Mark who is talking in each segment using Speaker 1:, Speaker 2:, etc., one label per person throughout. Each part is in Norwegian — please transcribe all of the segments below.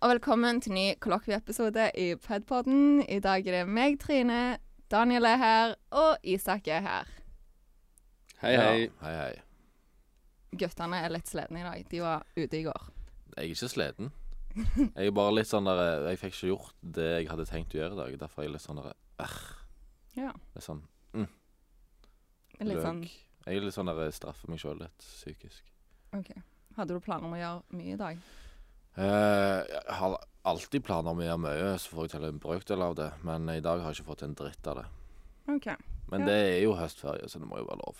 Speaker 1: og velkommen til ny kollokvieepisode i Pedpodden. I dag er det meg, Trine, Daniel er her, og Isak er her.
Speaker 2: Hei, hei.
Speaker 3: Ja, hei, hei.
Speaker 1: Guttene er litt slitne i dag. De var ute i går.
Speaker 3: Jeg er ikke sliten. Jeg er bare litt sånn der eh, Jeg fikk ikke gjort det jeg hadde tenkt å gjøre i dag. Derfor er jeg litt sånn der
Speaker 1: Ja.
Speaker 3: litt sånn
Speaker 1: Litt
Speaker 3: løk.
Speaker 1: sånn
Speaker 3: Jeg er litt sånn der eh, straffer meg sjøl litt psykisk.
Speaker 1: OK. Hadde du planer om å gjøre mye i dag?
Speaker 3: Eh, jeg har alltid planer om å gjøre mye, så får jeg til en brøkdel av det. Men i dag har jeg ikke fått en dritt av det.
Speaker 1: OK. Ja.
Speaker 3: Men det er jo høstferie, så det må jo være lov.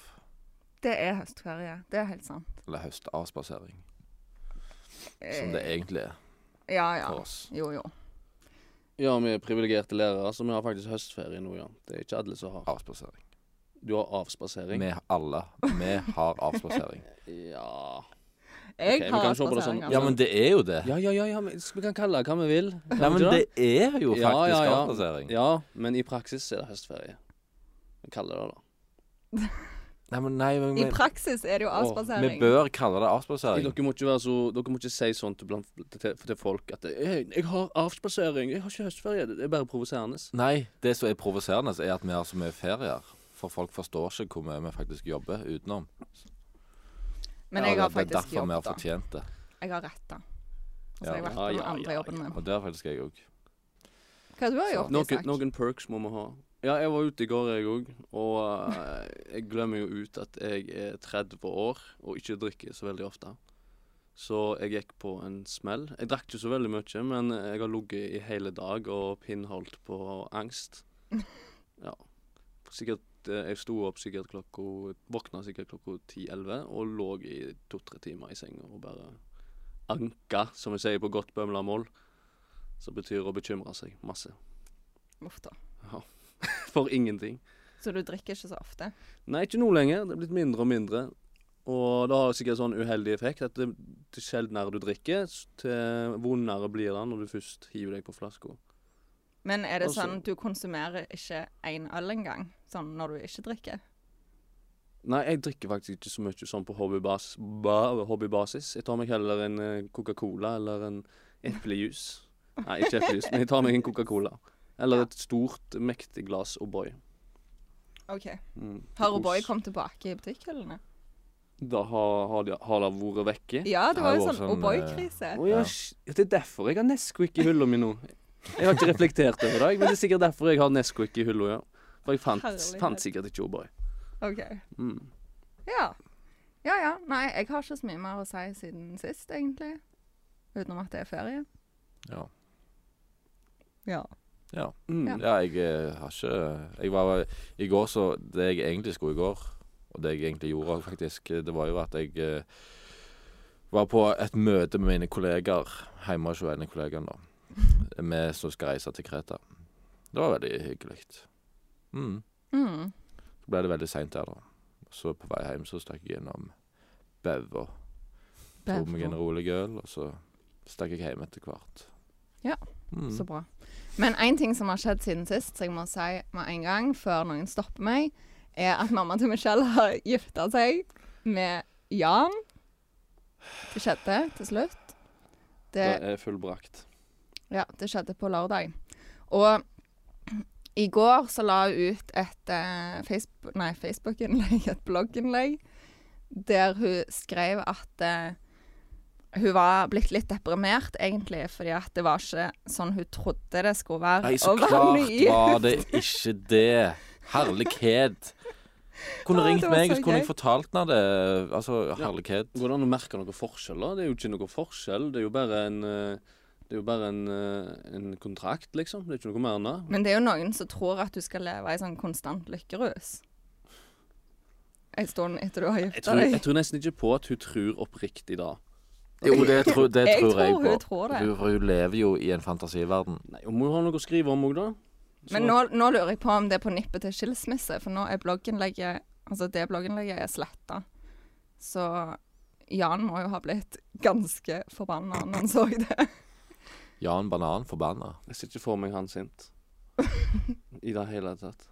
Speaker 1: Det er høstferie. Det er helt sant.
Speaker 3: Eller høstavspasering, som det egentlig er
Speaker 1: Ja, Eh, ja.
Speaker 3: for oss.
Speaker 1: Jo, jo.
Speaker 2: Ja, vi er privilegerte lærere, så vi har faktisk høstferie nå, ja. Det er ikke alle som har.
Speaker 3: Avspasering.
Speaker 2: Du har avspasering?
Speaker 3: Vi alle. Vi har avspasering.
Speaker 2: Ja
Speaker 1: Jeg
Speaker 2: Ok, vi
Speaker 1: har
Speaker 2: kan se på det
Speaker 1: avspasering,
Speaker 2: sånn.
Speaker 1: altså.
Speaker 3: Ja, men det er jo det.
Speaker 2: Ja, ja, ja, ja. men Vi kan kalle det hva vi vil. Kan
Speaker 3: Nei,
Speaker 2: vi
Speaker 3: men
Speaker 2: ikke
Speaker 3: det er jo
Speaker 2: Ja,
Speaker 3: faktisk
Speaker 2: ja, ja.
Speaker 3: avspasering.
Speaker 2: Ja, men i praksis er det høstferie. Vi kaller det det.
Speaker 3: Nei, men nei, men,
Speaker 1: I praksis er det jo
Speaker 2: Åh, vi
Speaker 3: Vi
Speaker 1: avspasering.
Speaker 3: bør kalle det
Speaker 2: Nei,
Speaker 3: avspasering.
Speaker 2: Dere må ikke være så Dere må ikke si sånn til, blant, til, til folk at «Hei, 'Jeg har avspasering. Jeg har ikke høstferie.' Det er bare provoserende.
Speaker 3: Nei, det som er provoserende, er at vi har så mye ferier. For folk forstår ikke hvor mye vi faktisk jobber utenom.
Speaker 1: Men jeg
Speaker 3: Og
Speaker 1: har
Speaker 3: det er
Speaker 1: faktisk
Speaker 3: derfor
Speaker 1: jobb,
Speaker 3: vi har
Speaker 1: da.
Speaker 3: fortjent det.
Speaker 1: Jeg har rett, da. Og så
Speaker 3: Ja,
Speaker 1: har jeg vært
Speaker 2: ja,
Speaker 1: på den
Speaker 2: ja,
Speaker 1: andre
Speaker 2: ja,
Speaker 1: jobben min.
Speaker 3: Og det har faktisk jeg òg.
Speaker 1: Hva har du har
Speaker 3: Så-
Speaker 1: gjort,
Speaker 2: Noen,
Speaker 1: Isak?
Speaker 2: noen perks må vi ha. Ja, jeg var ute i går, jeg òg. Og eh, jeg glemmer jo ut at jeg er 30 år og ikke drikker så veldig ofte. Så jeg gikk på en smell. Jeg drakk ikke så veldig mye, men jeg har ligget i hele dag og pinnholdt på angst. Ja. Sikkert, eh, jeg sto opp sikkert klokka Våkna sikkert klokka 10-11 og lå i to-tre timer i senga og bare anka, som vi sier på godt bømlamål. Som betyr å bekymre seg masse.
Speaker 1: Uff da.
Speaker 2: For ingenting.
Speaker 1: Så du drikker ikke så ofte?
Speaker 2: Nei, ikke nå lenger. Det er blitt mindre og mindre. Og det har sikkert sånn uheldig effekt at det, til sjeldnere du drikker, s- til vondere blir det når du først hiver deg på flaska.
Speaker 1: Men er det
Speaker 2: Altså-
Speaker 1: sånn du konsumerer ikke én øl engang? Sånn når du ikke drikker?
Speaker 2: Nei, jeg drikker faktisk ikke så mye sånn på hobbybas, ba, hobbybasis. Jeg tar meg heller en eh, Coca-Cola eller en eplejus. Nei, ikke eplejus, men jeg tar meg en Coca-Cola. Eller et stort, mektig glass O'boy.
Speaker 1: OK.
Speaker 2: Mm,
Speaker 1: Har
Speaker 2: kos.
Speaker 1: O'boy kommet tilbake i butikkhyllene?
Speaker 2: Da har, har, de, har det vært vekke.
Speaker 1: Ja, det
Speaker 3: Det
Speaker 1: var jo
Speaker 3: har vært
Speaker 1: sånn
Speaker 3: sånn,
Speaker 1: O'boy-krise.
Speaker 2: Å ja,
Speaker 3: Ja.
Speaker 2: sh- det er derfor jeg har Nesquik i hylla mi nå. Jeg har ikke reflektert over det, jeg, men det er sikkert derfor jeg har Nesquik i hylla, ja. For jeg fant,
Speaker 1: Herlighet.
Speaker 2: fant sikkert ikke O'boy.
Speaker 1: OK.
Speaker 2: Mm.
Speaker 1: Ja. Ja ja. Nei, jeg har ikke så mye mer å si siden sist, egentlig. Utenom at det er ferie.
Speaker 3: Ja.
Speaker 1: Ja.
Speaker 3: Ja.
Speaker 2: Mm.
Speaker 1: Ja.
Speaker 3: ja, jeg eh, har ikke Jeg var I går, så Det jeg egentlig skulle i går, og det jeg egentlig gjorde også faktisk, det var jo at jeg eh, var på et møte med mine kollegaer hjemme hos en av kollegaene, da. Vi som skal reise til Kreta. Det var veldig hyggelig. Mm.
Speaker 1: Mm.
Speaker 3: Så ble det veldig seint der, da. Så på vei hjem så stakk jeg gjennom Bev og tok meg en
Speaker 1: Bedre.
Speaker 3: rolig øl, og så stakk jeg hjem etter hvert.
Speaker 1: Ja,
Speaker 3: Mm.
Speaker 1: Så bra. Men én ting som har skjedd siden sist, som jeg må si med en gang, før noen stopper meg, er at mamma til Michelle har gifta seg med Jan. Det skjedde til slutt.
Speaker 2: Det
Speaker 1: Det,
Speaker 2: er fullbrakt.
Speaker 1: ja, det skjedde på lørdag. Og i går så la hun ut et eh, Facebook, nei, Facebook-innlegg, et blogginnlegg, der hun skrev at eh, hun var blitt litt deprimert, egentlig, fordi at det var ikke sånn hun trodde det skulle være.
Speaker 3: Nei,
Speaker 1: å
Speaker 3: så
Speaker 1: være
Speaker 3: klart
Speaker 1: ny.
Speaker 3: var det ikke det. Herlighet.
Speaker 1: Å,
Speaker 3: Kunne ringt
Speaker 1: det var
Speaker 3: meg,
Speaker 1: så
Speaker 3: så kunne
Speaker 1: gøy.
Speaker 3: jeg fortalt henne det. Altså, herlighet.
Speaker 2: Går det an å merke noe forskjell, da? Det er jo ikke noe forskjell. Det er jo bare en eh, det er jo bare en, eh, en kontrakt, liksom. Det er ikke noe mer enn det.
Speaker 1: Men det er jo noen som tror at du skal leve i sånn konstant lykkerus. En stund etter du har
Speaker 2: Jeg
Speaker 1: gifta
Speaker 2: tror,
Speaker 1: deg.
Speaker 2: jeg tror nesten ikke på at hun tror oppriktig da.
Speaker 3: Jo, det, tro, det
Speaker 1: Jeg
Speaker 3: tror jeg
Speaker 1: tror
Speaker 3: på.
Speaker 1: hun tror det.
Speaker 3: Hun, hun lever jo i en fantasiverden.
Speaker 2: Nei, Hun må jo ha noe å skrive om òg, da. Så-
Speaker 1: Men nå, nå lurer jeg på om det er på nippet til skilsmisse, for nå er blogginnlegget Altså, det blogginnlegget er sletta. Så Jan må jo ha blitt ganske forbanna når han så det.
Speaker 3: Jan Banan forbanna.
Speaker 2: Jeg ser ikke for meg han sint. I det hele tatt.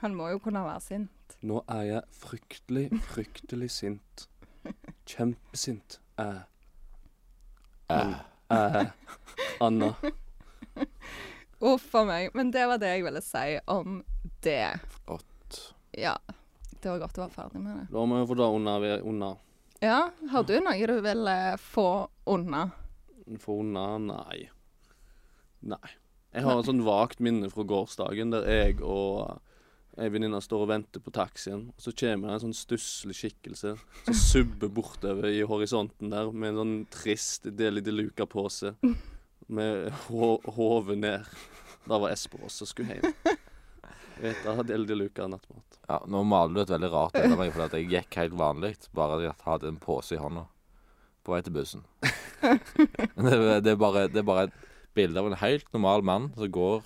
Speaker 1: Han må jo kunne være sint.
Speaker 2: Nå er jeg fryktelig, fryktelig sint. Kjempesint. Æ.
Speaker 3: Eh,
Speaker 2: Men eh, Anna.
Speaker 1: Uff a meg. Men det var det jeg ville si om det.
Speaker 3: Flott.
Speaker 1: Ja. Det var godt å være ferdig med det.
Speaker 2: Da må vi få det unna. unna.
Speaker 1: Ja, har du noe du vil eh, få unna?
Speaker 2: For unna Nei. Nei. Jeg har et sånn vagt minne fra gårsdagen der jeg og eh, ei venninne står og venter på taxien. Og så kommer det en sånn stusslig skikkelse som subber bortover i horisonten der med en sånn trist Deli de Luca-pose med ho- hodet ned. Da var Espen også skulle hjem. Jeg Vet da, Deli de Luca nattmat.
Speaker 3: Ja, nå maler du et veldig rart bilde av meg, fordi at jeg gikk helt vanlig, bare at jeg hadde en pose i hånda på vei til bussen. Men det, er- det, er bare, det er bare et bilde av en helt normal mann som går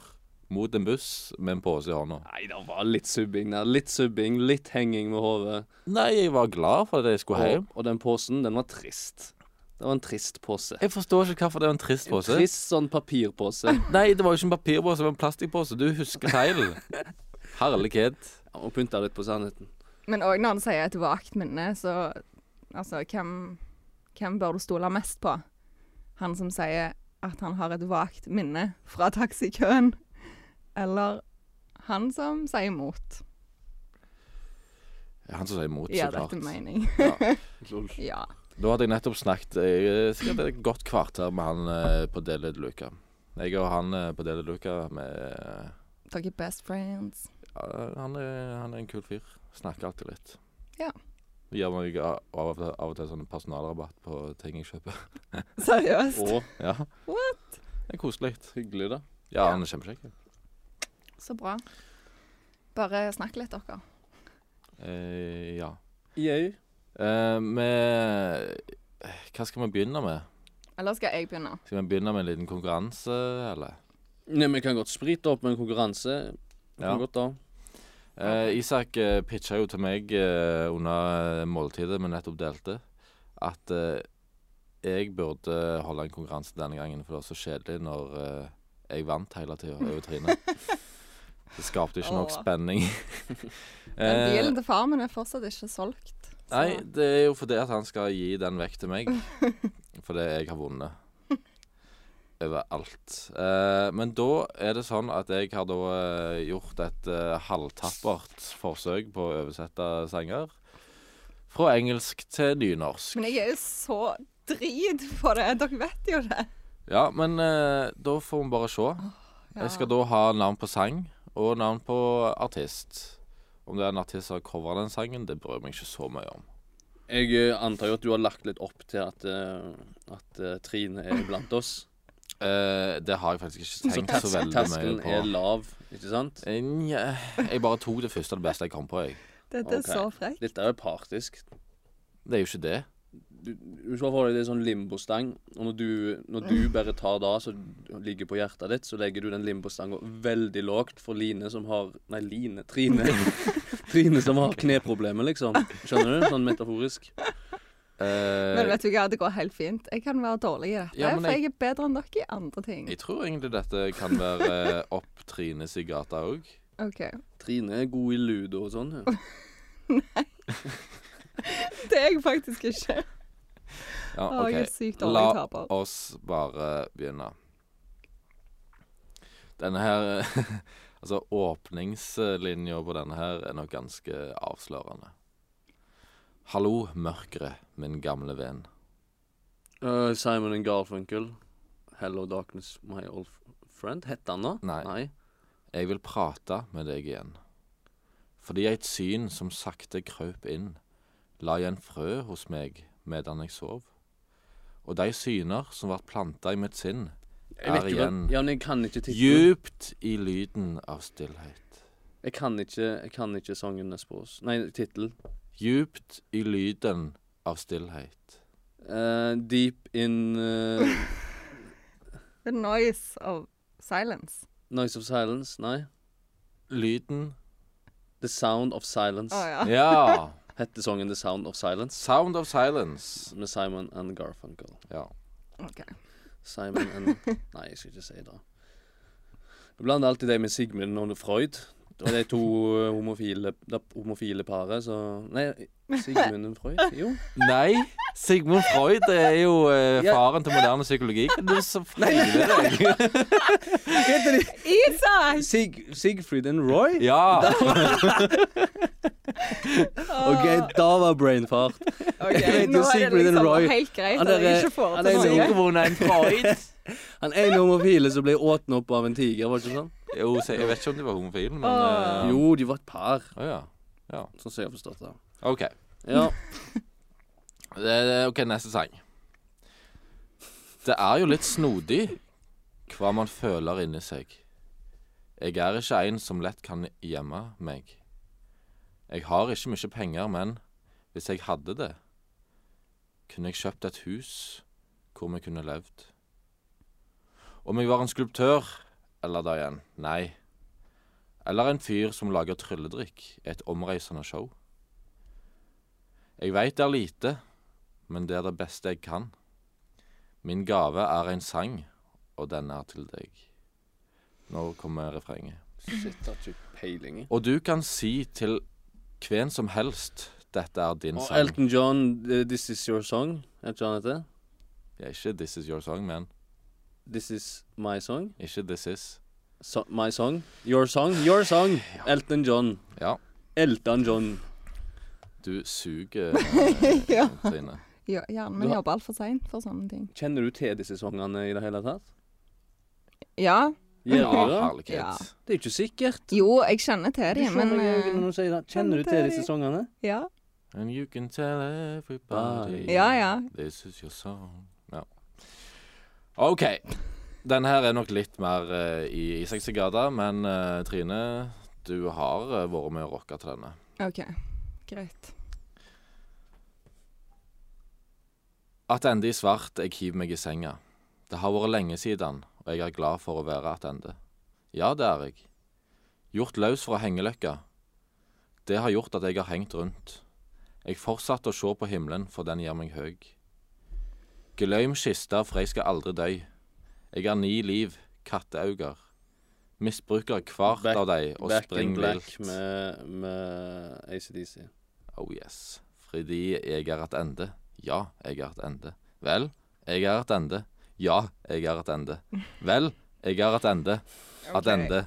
Speaker 3: mot en buss med en pose i hånda.
Speaker 2: Nei, det var litt subbing der. Litt subbing, litt henging med hodet.
Speaker 3: Nei, jeg var glad for at jeg skulle hjem.
Speaker 2: Og, og den posen, den var trist. Det var en trist pose.
Speaker 3: Jeg forstår ikke hvorfor det var en trist
Speaker 2: En
Speaker 3: pose.
Speaker 2: trist sånn papirpose.
Speaker 3: Nei, det var jo ikke en papirpose, det var en plastikkpose. Du husker feil. Herlighet.
Speaker 2: Ja, Og pynta litt på sannheten.
Speaker 1: Men òg når han sier et vagt minne, så Altså, hvem, hvem bør du stole mest på? Han som sier at han har et vagt minne fra taxikøen? Eller han som sier imot?
Speaker 3: Ja, Han som sier imot, så
Speaker 1: Ja,
Speaker 3: klart.
Speaker 1: dette mening. Ja.
Speaker 3: Da hadde jeg nettopp snakket eh, sikkert et godt kvarter med han eh, på Dele de Luca. Jeg og han eh, på Dele de Luca med eh,
Speaker 1: Dere er best friends.
Speaker 3: ja, han, er, han er en kul fyr. Snakker alltid litt.
Speaker 1: Ja.
Speaker 3: Gir meg av av og til, av og til sånn personalrabatt på ting jeg kjøper.
Speaker 1: Seriøst.
Speaker 2: Og
Speaker 3: Ja. What? Det er koselig.
Speaker 2: hyggelig, da.
Speaker 3: Ja, han er kjempekjekk.
Speaker 1: Så bra. Bare snakk litt, dere.
Speaker 3: Eh, ja.
Speaker 2: Yay.
Speaker 3: Eh, med Hva skal vi begynne med?
Speaker 1: Eller skal jeg begynne?
Speaker 3: Skal vi begynne med en liten konkurranse, eller?
Speaker 2: Nei, vi kan godt sprite opp med en konkurranse. Vi
Speaker 3: Ja.
Speaker 2: Kan godt da.
Speaker 3: Eh, Isak eh, pitcha jo til meg eh, under måltidet vi nettopp delte, at eh, jeg burde holde en konkurranse denne gangen, for det var så kjedelig når eh, jeg vant hele tida, jeg og Trine. Det skapte ikke nok
Speaker 1: Åh.
Speaker 3: spenning.
Speaker 1: Men
Speaker 3: Eh,
Speaker 1: bilen til far min er fortsatt ikke solgt. Så
Speaker 3: nei, det er jo fordi at han skal gi den vekk til meg, fordi jeg har vunnet. Overalt. Eh, men da er det sånn at jeg har da eh, gjort et eh, halvtappert forsøk på å oversette sanger. Fra engelsk til nynorsk.
Speaker 1: Men jeg er jo så drit på det. Dere vet jo det.
Speaker 3: Ja, men eh, da får vi bare se. Jeg skal da ha navn på sang og navn på artist. Om det er en artist som har covra den sangen, det bryr jeg meg ikke så mye om.
Speaker 2: Jeg eh, antar jo at du har lagt litt opp til at, eh, at eh, Trine er blant oss.
Speaker 3: Eh, det har jeg faktisk ikke tenkt så,
Speaker 2: tersk-
Speaker 3: veldig mye
Speaker 2: terskelen
Speaker 3: på.
Speaker 2: er lav, ikke sant?
Speaker 3: Eh, Nja, jeg bare tok det første og det beste jeg kom på. Jeg.
Speaker 1: Dette er
Speaker 2: Ok.
Speaker 1: så frekt.
Speaker 2: Dette er jo partisk.
Speaker 3: Det er jo ikke det.
Speaker 2: Du, du ser for deg det er sånn limbostang, og når du, når du bare tar det som ligger på hjertet ditt, så legger du den limbostanga veldig lågt for Line som har Nei, Line. Trine. Trine som har kneproblemer, liksom. Skjønner du? Sånn metaforisk.
Speaker 3: Eh,
Speaker 1: Men vet du hva, det går helt fint. Jeg kan være dårlig i dette,
Speaker 3: Ja, men
Speaker 1: for
Speaker 3: jeg-
Speaker 1: jeg er bedre enn dere i andre ting.
Speaker 3: jeg tror egentlig dette kan være eh, opp Trines i gata òg.
Speaker 1: OK.
Speaker 2: Trine er god i ludo og sånn. hun.
Speaker 1: Det er jeg faktisk ikke.
Speaker 3: Ja,
Speaker 1: Å,
Speaker 3: OK.
Speaker 1: jeg er sykt dårlig
Speaker 3: La
Speaker 1: taper.
Speaker 3: oss bare begynne. Denne her Altså, åpningslinja på denne her er nok ganske avslørende. Hallo, mørket, min gamle venn.
Speaker 2: Eh, Simon and Garfunkel. Hello Darkness, My Old Friend. Hette han det?
Speaker 3: Nei. Jeg vil prate med deg igjen. Fordi et syn som sakte krøp inn, la igjen frø hos meg medan jeg sov. Og de syner som vart planta i mitt sinn,
Speaker 2: Jeg vet
Speaker 3: Er
Speaker 2: ikke,
Speaker 3: igjen.
Speaker 2: hva- ja, men jeg kan ikke tittelen.
Speaker 3: djupt i lyden av stillhet.
Speaker 2: Jeg kan ikke, jeg kan ikke sangen Nespås. Nei, tittel.
Speaker 3: Djupt i lyden av stillhet.
Speaker 2: Eh, deep in eh,
Speaker 1: The noise of silence.
Speaker 2: Noise of Silence. Nei.
Speaker 3: Lyden
Speaker 2: The Sound of Silence.
Speaker 1: Å Ah, ja.
Speaker 3: Ja!
Speaker 2: Hette sangen The Sound of Silence?
Speaker 3: Sound of silence.
Speaker 2: Med Simon and Garfunkel.
Speaker 3: Ja.
Speaker 1: OK.
Speaker 2: Simon and Nei, jeg skal ikke si det. Du blander alltid det med Sigmund og Freud. Og det er to eh, homofile, det er homofile paret, så Nei, Sigmund og Freud? Jo.
Speaker 3: Nei, Sigmund Freud det er jo eh,
Speaker 2: Ja.
Speaker 3: faren til moderne psykologi. Hva er det som feiler deg?
Speaker 2: Heter de
Speaker 1: Isak!
Speaker 2: Sig, Sigfrid and Roy?
Speaker 3: Ja.
Speaker 2: OK, da var brainfart.
Speaker 1: Ok,
Speaker 2: Jeg vet
Speaker 1: Nå er
Speaker 2: jo
Speaker 1: det
Speaker 2: Sigrid and
Speaker 1: liksom
Speaker 2: Roy.
Speaker 1: helt greit
Speaker 2: Han
Speaker 1: at jeg
Speaker 2: er-
Speaker 1: ikke får
Speaker 2: han
Speaker 1: til
Speaker 2: er
Speaker 1: noe.
Speaker 2: Sigmund.
Speaker 3: Sigmund and Freud.
Speaker 2: Han ene homofile som ble åten opp av en tiger, var det ikke sånn?
Speaker 3: Jo, så jeg vet ikke om de var homofile, men
Speaker 1: Åh.
Speaker 3: eh,
Speaker 2: Jo, de var et par,
Speaker 3: Å ja. ja.
Speaker 2: sånn som jeg har forstått det.
Speaker 3: OK.
Speaker 2: Ja.
Speaker 3: Det, det- OK, neste sang. Det er jo litt snodig hva man føler inni seg. Jeg er ikke en som lett kan gjemme meg. Jeg har ikke mye penger, men hvis jeg hadde det, kunne jeg kjøpt et hus hvor vi kunne levd. Om jeg var en skulptør, eller da igjen, nei. Eller en fyr som lager trylledrikk i et omreisende show. Jeg veit det er lite, men det er det beste jeg kan. Min gave er en sang, og den er til deg. Nå kommer refrenget.
Speaker 2: Shit, har ikke peiling.
Speaker 3: Og du kan si til hvem som helst dette er din
Speaker 2: Og
Speaker 3: sang.
Speaker 2: Elton John, eh, 'This Is Your Song'. Er ikke han heter?
Speaker 3: Ja, ikke 'This Is Your Song', men
Speaker 2: This Is My Song.
Speaker 3: ikke 'This Is'.
Speaker 2: So, my Song. Your Song. Your Song. Elton John.
Speaker 3: Ja,
Speaker 2: Elton John.
Speaker 3: du suger, eh,
Speaker 1: Ja.
Speaker 3: Trine.
Speaker 1: Ja, Hjernen
Speaker 2: Du
Speaker 1: min
Speaker 2: har-
Speaker 1: jobber altfor seint for sånne ting.
Speaker 2: Kjenner du til disse sangene i det hele tatt?
Speaker 1: Ja.
Speaker 2: Gjør du det?
Speaker 3: Ja,
Speaker 1: Ja.
Speaker 3: herlighet.
Speaker 2: Det er ikke sikkert.
Speaker 1: Jo, jeg kjenner til
Speaker 2: Du
Speaker 1: dem, men
Speaker 2: skjønner jo ikke
Speaker 1: eh,
Speaker 2: når du sier det. Kjenner du til disse sangene?
Speaker 1: ja.
Speaker 3: And you can tell everybody
Speaker 1: Ja, ja.
Speaker 3: This is your song. Ja. OK. Denne her er nok litt mer eh, i Isaks gate, men eh, Trine, du har eh, vært med å rocke til denne.
Speaker 1: OK. Greit.
Speaker 3: Attende i svart, jeg hiver meg i senga. Det har vært lenge siden, og jeg er glad for å være attende. Ja, det er jeg. Gjort løs fra hengeløkka. Det har gjort at jeg har hengt rundt. Jeg fortsatte å se på himmelen, for den gir meg høg. Gløym kista, for jeg skal aldri døy. Jeg er ni liv, katteauger. Misbruker hvert
Speaker 2: Back-
Speaker 3: av dei, og
Speaker 2: Back in
Speaker 3: spring
Speaker 2: Black
Speaker 3: vilt.
Speaker 2: med, med ACDC.
Speaker 3: Oh yes. Fordi jeg er et ende. Ja, jeg er et ende. Vel, jeg er et ende. Ja, jeg er et ende. Vel, jeg er et ende. Et ende.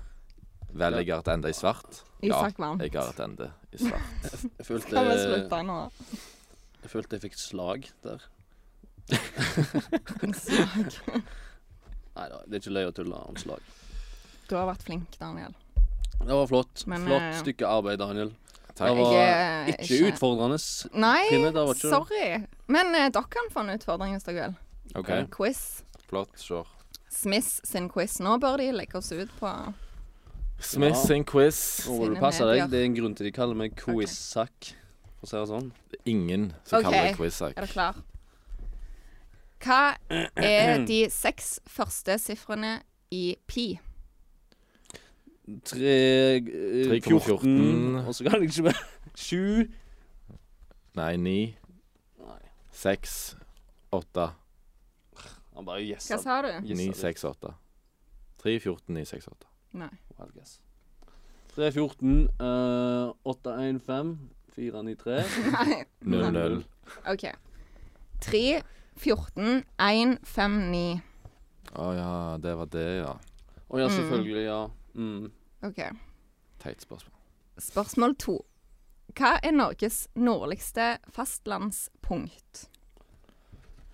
Speaker 3: Vel, jeg er et ende i svart. Ja,
Speaker 1: Isak vant.
Speaker 3: jeg er et ende i svart.
Speaker 2: Jeg følte,
Speaker 1: Kan vi slutte nå?
Speaker 2: jeg følte jeg fikk slag der.
Speaker 1: En slag.
Speaker 2: Nei da, det er ikke løye å tulle om slag.
Speaker 1: Du har vært flink, Daniel.
Speaker 2: Det var flott.
Speaker 1: Men,
Speaker 2: flott
Speaker 1: eh,
Speaker 2: stykke arbeid, Daniel. Det
Speaker 3: Takk.
Speaker 2: var
Speaker 1: Jeg er
Speaker 2: ikke
Speaker 1: ikke-
Speaker 2: utfordrende.
Speaker 1: Nei,
Speaker 2: Trine, det var ikke det.
Speaker 1: sorry. Men eh, dere kan få en utfordring hvis dere vil.
Speaker 3: OK,
Speaker 1: Quiz.
Speaker 3: flott. Sure.
Speaker 1: Smiths sin quiz. Nå bør de legge oss ut på
Speaker 3: Smith sin quiz.
Speaker 2: Nå må du
Speaker 1: Sine
Speaker 2: passe deg.
Speaker 1: medier.
Speaker 2: Det er en grunn til de kaller meg quiz-sack, for å si det sånn.
Speaker 3: Ingen som
Speaker 1: Ok.
Speaker 3: kaller det quiz. Zack.
Speaker 1: Er dere klar? Hva er de seks første sifrene i pi?
Speaker 2: Tre, eh,
Speaker 3: 3,14.
Speaker 2: 14, Og så kan jeg ikke mer. Sju.
Speaker 3: Nei, ni,
Speaker 2: Nei,
Speaker 3: seks, åtte.
Speaker 2: han bare gjessa.
Speaker 1: Hva sa du?
Speaker 3: Ni,
Speaker 2: Gjessa litt.
Speaker 3: seks, åtte. Tre, fjorten, ni, seks, åtte.
Speaker 1: Nei.
Speaker 2: Wild guess. 314, eh, 815, 493.
Speaker 1: Nei.
Speaker 3: Null,
Speaker 2: Nei.
Speaker 3: null.
Speaker 1: OK. 3, 14, 1, 5, 9.
Speaker 3: Å ja, det var det, ja.
Speaker 2: Å ja, selvfølgelig, ja. Mm.
Speaker 1: OK.
Speaker 3: Teit spørsmål.
Speaker 1: Spørsmål to. Hva er Norges nordligste fastlandspunkt?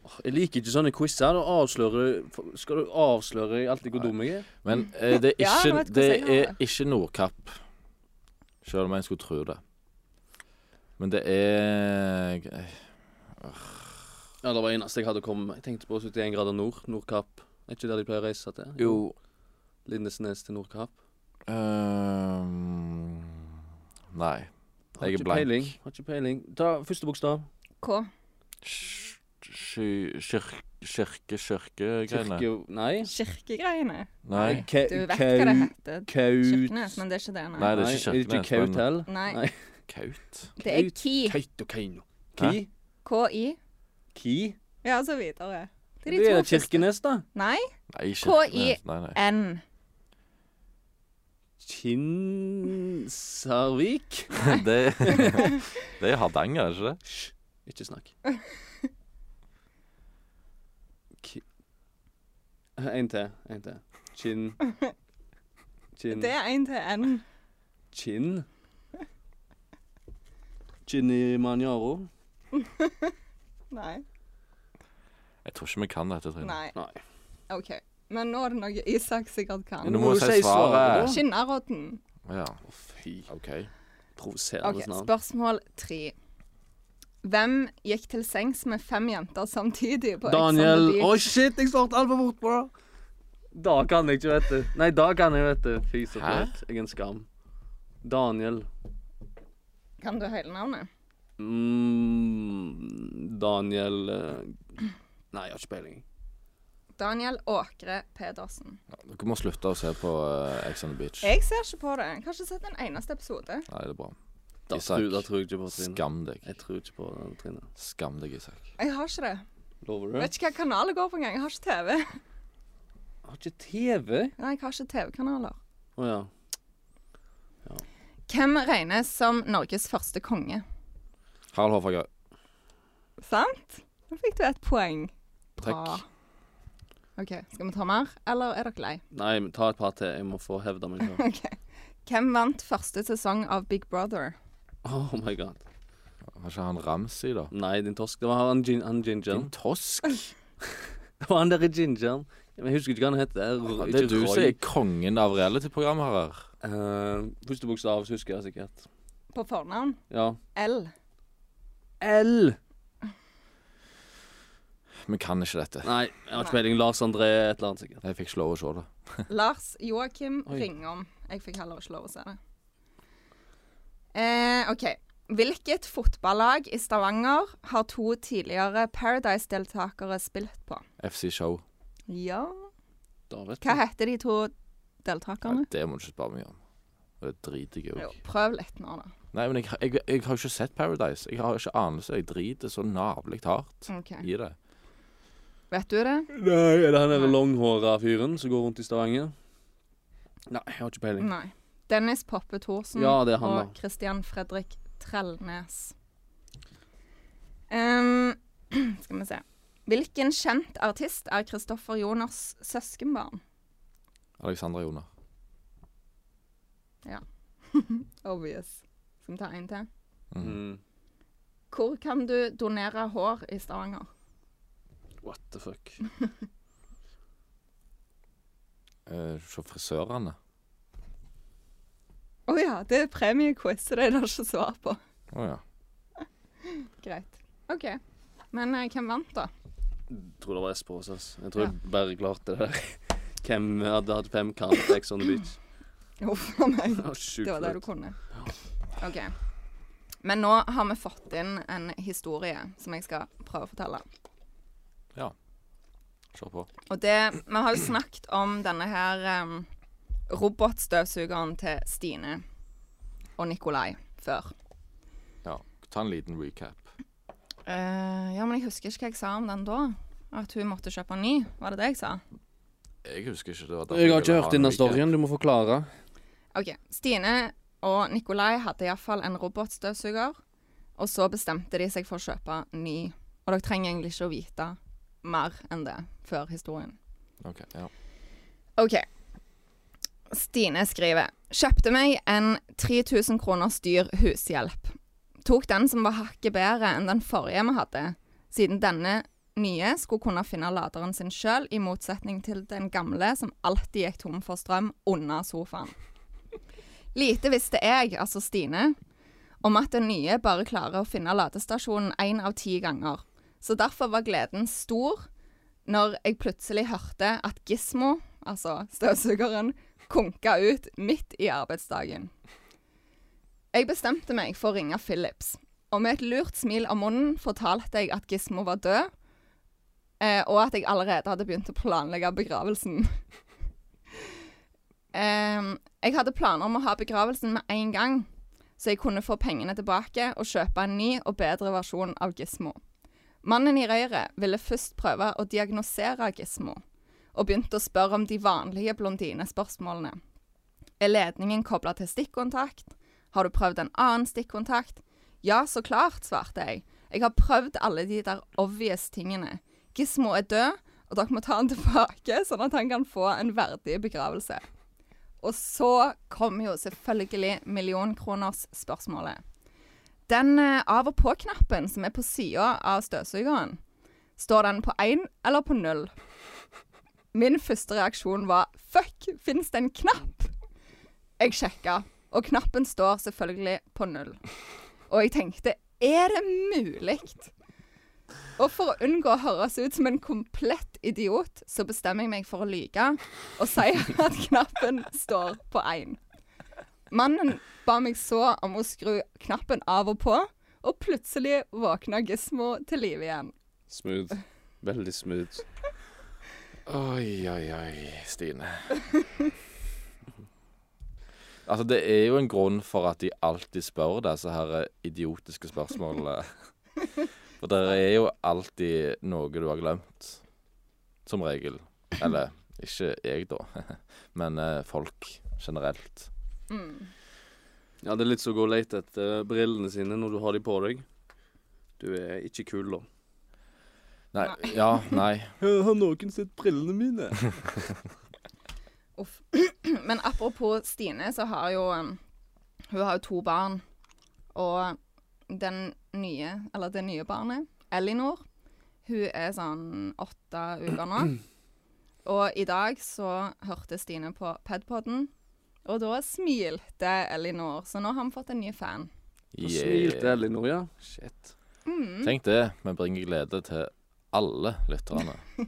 Speaker 2: Åh, Jeg liker ikke sånne quizer. Da avslører for- Skal du avsløre alltid hvor dum jeg er?
Speaker 3: Men eh, det er
Speaker 1: Ja,
Speaker 3: ikke,
Speaker 1: nå vet jeg
Speaker 3: det
Speaker 1: hvordan jeg har
Speaker 3: er ikke Nordkapp, selv om en skulle tro det. Men det er
Speaker 2: Ja, Det var det eneste jeg hadde kommet med. Jeg tenkte på 71 grader nord. Nordkapp. Er ikke der de pleier å reise til? Lindesnes til Nordkapp.
Speaker 3: ehm, Nei.
Speaker 2: Har
Speaker 3: Jeg er
Speaker 2: ikke
Speaker 3: blank.
Speaker 2: peiling. Har ikke peiling. Ta første bokstav.
Speaker 1: K.
Speaker 3: Sj- sj- Kirke, kirke, kirkegreiene.
Speaker 2: Kirke... Nei.
Speaker 1: Kirkegreiene.
Speaker 3: Nei.
Speaker 2: Ka
Speaker 1: Du vet hva det heter.
Speaker 2: Kaut
Speaker 1: Kirkenes, men det er ikke det, nei.
Speaker 3: Nei, det er
Speaker 2: Nei,
Speaker 3: ikke
Speaker 2: er det ikke
Speaker 3: Kirkenes, men-
Speaker 2: Kaut heller?
Speaker 1: Nei,
Speaker 2: Nei.
Speaker 3: Kaut.
Speaker 1: det er Ki.
Speaker 2: Kaut og Keino.
Speaker 3: Hæ?
Speaker 2: Ki?
Speaker 1: KI.
Speaker 2: Ki?
Speaker 1: Ja, så videre. Det
Speaker 2: Det er Kirkenes, da.
Speaker 1: Nei,
Speaker 3: Nei,
Speaker 1: K-I-
Speaker 3: Kirkenes. Nei, nei.
Speaker 1: N.
Speaker 2: Kinsarvik?
Speaker 3: det, det er Hardanger, er det ikke det?
Speaker 2: Hysj, ikke snakk. Ki... En til. En til. Kinn. Kinn.
Speaker 1: Det er én til N.
Speaker 2: Kinn. Kinnimanjaro.
Speaker 1: Nei.
Speaker 3: Jeg tror ikke vi kan dette, Trine.
Speaker 1: Nei.
Speaker 2: Nei.
Speaker 1: OK. Men nå er det noe Isak sikkert
Speaker 3: Men
Speaker 1: kan.
Speaker 3: nå må du si svaret.
Speaker 2: da.
Speaker 1: Skinnarrodden.
Speaker 3: Ja,
Speaker 2: Å, fy.
Speaker 3: OK.
Speaker 2: Provoserende
Speaker 1: Ok,
Speaker 2: okay, navn.
Speaker 1: Spørsmål tre. Hvem gikk til sengs med fem jenter samtidig på Ex on the
Speaker 2: Daniel Å,
Speaker 1: Beach?
Speaker 2: shit, jeg svarte altfor fort, bro. Da kan jeg ikke, vet du. Nei, da kan jeg, vet du. Fy så
Speaker 3: Hæ?
Speaker 2: flaut. Jeg er en skam. Daniel.
Speaker 1: Kan du hele navnet?
Speaker 2: Mm, Daniel eh, Nei, jeg har ikke peiling.
Speaker 1: Daniel Åkre Pedersen.
Speaker 3: Dere må slutte å se på eh, Ex on the Beach.
Speaker 1: Jeg ser ikke på det. Jeg har ikke sett en eneste episode.
Speaker 3: Nei, det er bra.
Speaker 2: Da,
Speaker 3: Isak,
Speaker 2: tror- da tror jeg ikke på Trine.
Speaker 3: Skam deg.
Speaker 2: Jeg tror ikke på den, Trine.
Speaker 3: Skam deg, Isak.
Speaker 1: Jeg har ikke det.
Speaker 2: Lover du?
Speaker 1: Vet ikke hva kanal det går på engang. Jeg har ikke TV.
Speaker 2: Jeg har ikke TV.
Speaker 1: Nei, jeg har ikke TV-kanaler.
Speaker 2: Å ja.
Speaker 1: Hvem regnes som Norges første konge?
Speaker 3: Harald Hårfagre.
Speaker 1: Sant? Nå fikk du et poeng. Ah.
Speaker 3: Trekk.
Speaker 1: OK, skal vi ta mer, eller er dere lei?
Speaker 2: Nei, men ta et par til. Jeg må få hevda meg sjøl.
Speaker 1: OK. Hvem vant første sesong av Big Brother?
Speaker 2: Oh my god.
Speaker 3: Var ikke han Ramsi, da?
Speaker 2: Nei, din tosk. Det var han, gin han gingeren.
Speaker 3: Din tosk.
Speaker 2: Det var han derre gingeren. Men jeg husker ikke hva han heter.
Speaker 3: Ja, Det er du som er kongen av reality-programmet her.
Speaker 2: uh, Første bokstav så husker jeg sikkert.
Speaker 1: På fornavn?
Speaker 2: Ja.
Speaker 1: L.
Speaker 2: L.
Speaker 3: Vi kan ikke dette.
Speaker 2: Nei, jeg har ikke peiling. Lars André et eller annet, sikkert.
Speaker 3: Jeg fikk ikke lov å se det.
Speaker 1: Lars Joakim
Speaker 2: Oi.
Speaker 1: Ringom. Jeg fikk heller ikke lov å se det. Eh, OK. Hvilket fotballag i Stavanger har to tidligere Paradise-deltakere spilt på?
Speaker 3: FC Show.
Speaker 1: Ja
Speaker 2: Da vet
Speaker 1: Hva
Speaker 2: du.
Speaker 1: heter de to
Speaker 3: Nei,
Speaker 1: deltakerne?
Speaker 3: det må du ikke spørre meg om. Det driter jeg
Speaker 1: Jo,
Speaker 3: òg.
Speaker 1: prøv litt nå, da.
Speaker 3: Nei, men jeg, jeg, jeg har jo ikke sett Paradise. Jeg har ikke anelse. Jeg driter så navlig hardt
Speaker 1: Ok.
Speaker 3: i det.
Speaker 1: Vet du det?
Speaker 2: Nei, er det han derre
Speaker 1: Nei.
Speaker 2: langhåra fyren som går rundt i Stavanger? Nei, jeg har ikke peiling.
Speaker 1: Nei. Dennis Poppe Thorsen
Speaker 2: Ja, det er han,
Speaker 1: og
Speaker 2: da.
Speaker 1: Christian Fredrik Trellnes. Ehm, skal vi se Hvilken kjent artist er Kristoffer Jonas' søskenbarn?
Speaker 3: Alexandra Joner.
Speaker 1: Obvious. Skal vi ta en til?
Speaker 3: Mm.
Speaker 2: Mm.
Speaker 1: Hvor kan du donere hår i Stavanger?
Speaker 2: What the fuck.
Speaker 3: Eh, Se frisørene.
Speaker 1: Å ja, det er premiequiz, så det er det ikke svar på.
Speaker 3: Å ja.
Speaker 1: Greit. OK. Men eh, hvem vant, da?
Speaker 2: Jeg tror det var Espen hos oss. Jeg tror
Speaker 1: Ja.
Speaker 2: jeg bare klarte det der. Hvem hadde hatt femkant på Ex on the Beach?
Speaker 1: Huff a meg.
Speaker 2: Det var sjukt
Speaker 1: Det var det du
Speaker 2: flaut.
Speaker 1: kunne. OK. Men nå har vi fått inn en historie som jeg skal prøve å fortelle.
Speaker 3: Se på.
Speaker 1: Og det Vi har jo snakket om denne her em, robotstøvsugeren til Stine og Nikolai før.
Speaker 3: Ja. Ta en liten recap.
Speaker 1: Eh, ja, men jeg husker ikke hva jeg sa om den da. At hun måtte kjøpe en ny. Var det det jeg sa?
Speaker 3: Jeg husker ikke det. var derfor
Speaker 2: Jeg har
Speaker 3: ville
Speaker 2: ikke
Speaker 3: ha
Speaker 2: hørt
Speaker 3: en
Speaker 2: denne
Speaker 3: recap.
Speaker 2: storyen. Du må forklare.
Speaker 1: OK. Stine og Nikolai hadde iallfall en robotstøvsuger, og så bestemte de seg for å kjøpe ny. Og dere trenger egentlig ikke å vite mer enn det før historien.
Speaker 3: Ok, ja.
Speaker 1: OK. Stine skriver Kjøpte meg en 3000 kroners dyr hushjelp. Tok den som var hakket bedre enn den forrige vi hadde, siden denne nye skulle kunne finne laderen sin sjøl, i motsetning til den gamle som alltid gikk tom for strøm under sofaen. Lite visste jeg, altså Stine, om at den nye bare klarer å finne ladestasjonen én av ti ganger. Så derfor var gleden stor når jeg plutselig hørte at Gismo, altså støvsugeren, konka ut midt i arbeidsdagen. Jeg bestemte meg for å ringe Philips, og med et lurt smil om munnen fortalte jeg at Gismo var død, eh, og at jeg allerede hadde begynt å planlegge begravelsen. eh, jeg hadde planer om å ha begravelsen med en gang, så jeg kunne få pengene tilbake og kjøpe en ny og bedre versjon av Gismo. Mannen i røret ville først prøve å diagnosere Gismo, og begynte å spørre om de vanlige blondinespørsmålene. Er ledningen kobla til stikkontakt? Har du prøvd en annen stikkontakt? Ja, så klart, svarte jeg. Jeg har prøvd alle de der obvious tingene. Gismo er død, og dere må ta han tilbake, sånn at han kan få en verdig begravelse. Og så kom jo selvfølgelig millionkronersspørsmålet. Den eh, av og på-knappen som er på sida av støvsugeren, står den på én eller på null? Min første reaksjon var fuck, fins det en knapp? Jeg sjekka, og knappen står selvfølgelig på null. Og jeg tenkte er det mulig? Og for å unngå å høres ut som en komplett idiot, så bestemmer jeg meg for å lyge og si at knappen står på én. Mannen ba meg så om å skru knappen av og på, og plutselig våkna Gismo til live igjen.
Speaker 2: Smooth. Veldig smooth.
Speaker 3: Oi, oi, oi, Stine. Altså, det er jo en grunn for at de alltid spør disse her idiotiske spørsmålene. For det er jo alltid noe du har glemt, som regel. Eller ikke jeg, da, men eh, folk generelt.
Speaker 1: Mm.
Speaker 2: Ja, det er litt som å gå og lete etter brillene sine når du har de på deg. Du er ikke kul, da.
Speaker 3: Nei. Ja, nei.
Speaker 2: Har noen sett brillene mine?
Speaker 1: Uff. Men apropos Stine, så har jo um, Hun har jo to barn. Og den nye, eller det nye barnet, Elinor, hun er sånn åtte uker nå. Og i dag så hørte Stine på Pedpodden, og da smilte Elinor. Så nå har vi fått en ny fan.
Speaker 2: Yeah. Smilte Elinor, ja. Shit.
Speaker 1: Mm.
Speaker 3: Tenk det. Vi bringer glede til alle lytterne.
Speaker 1: Ja.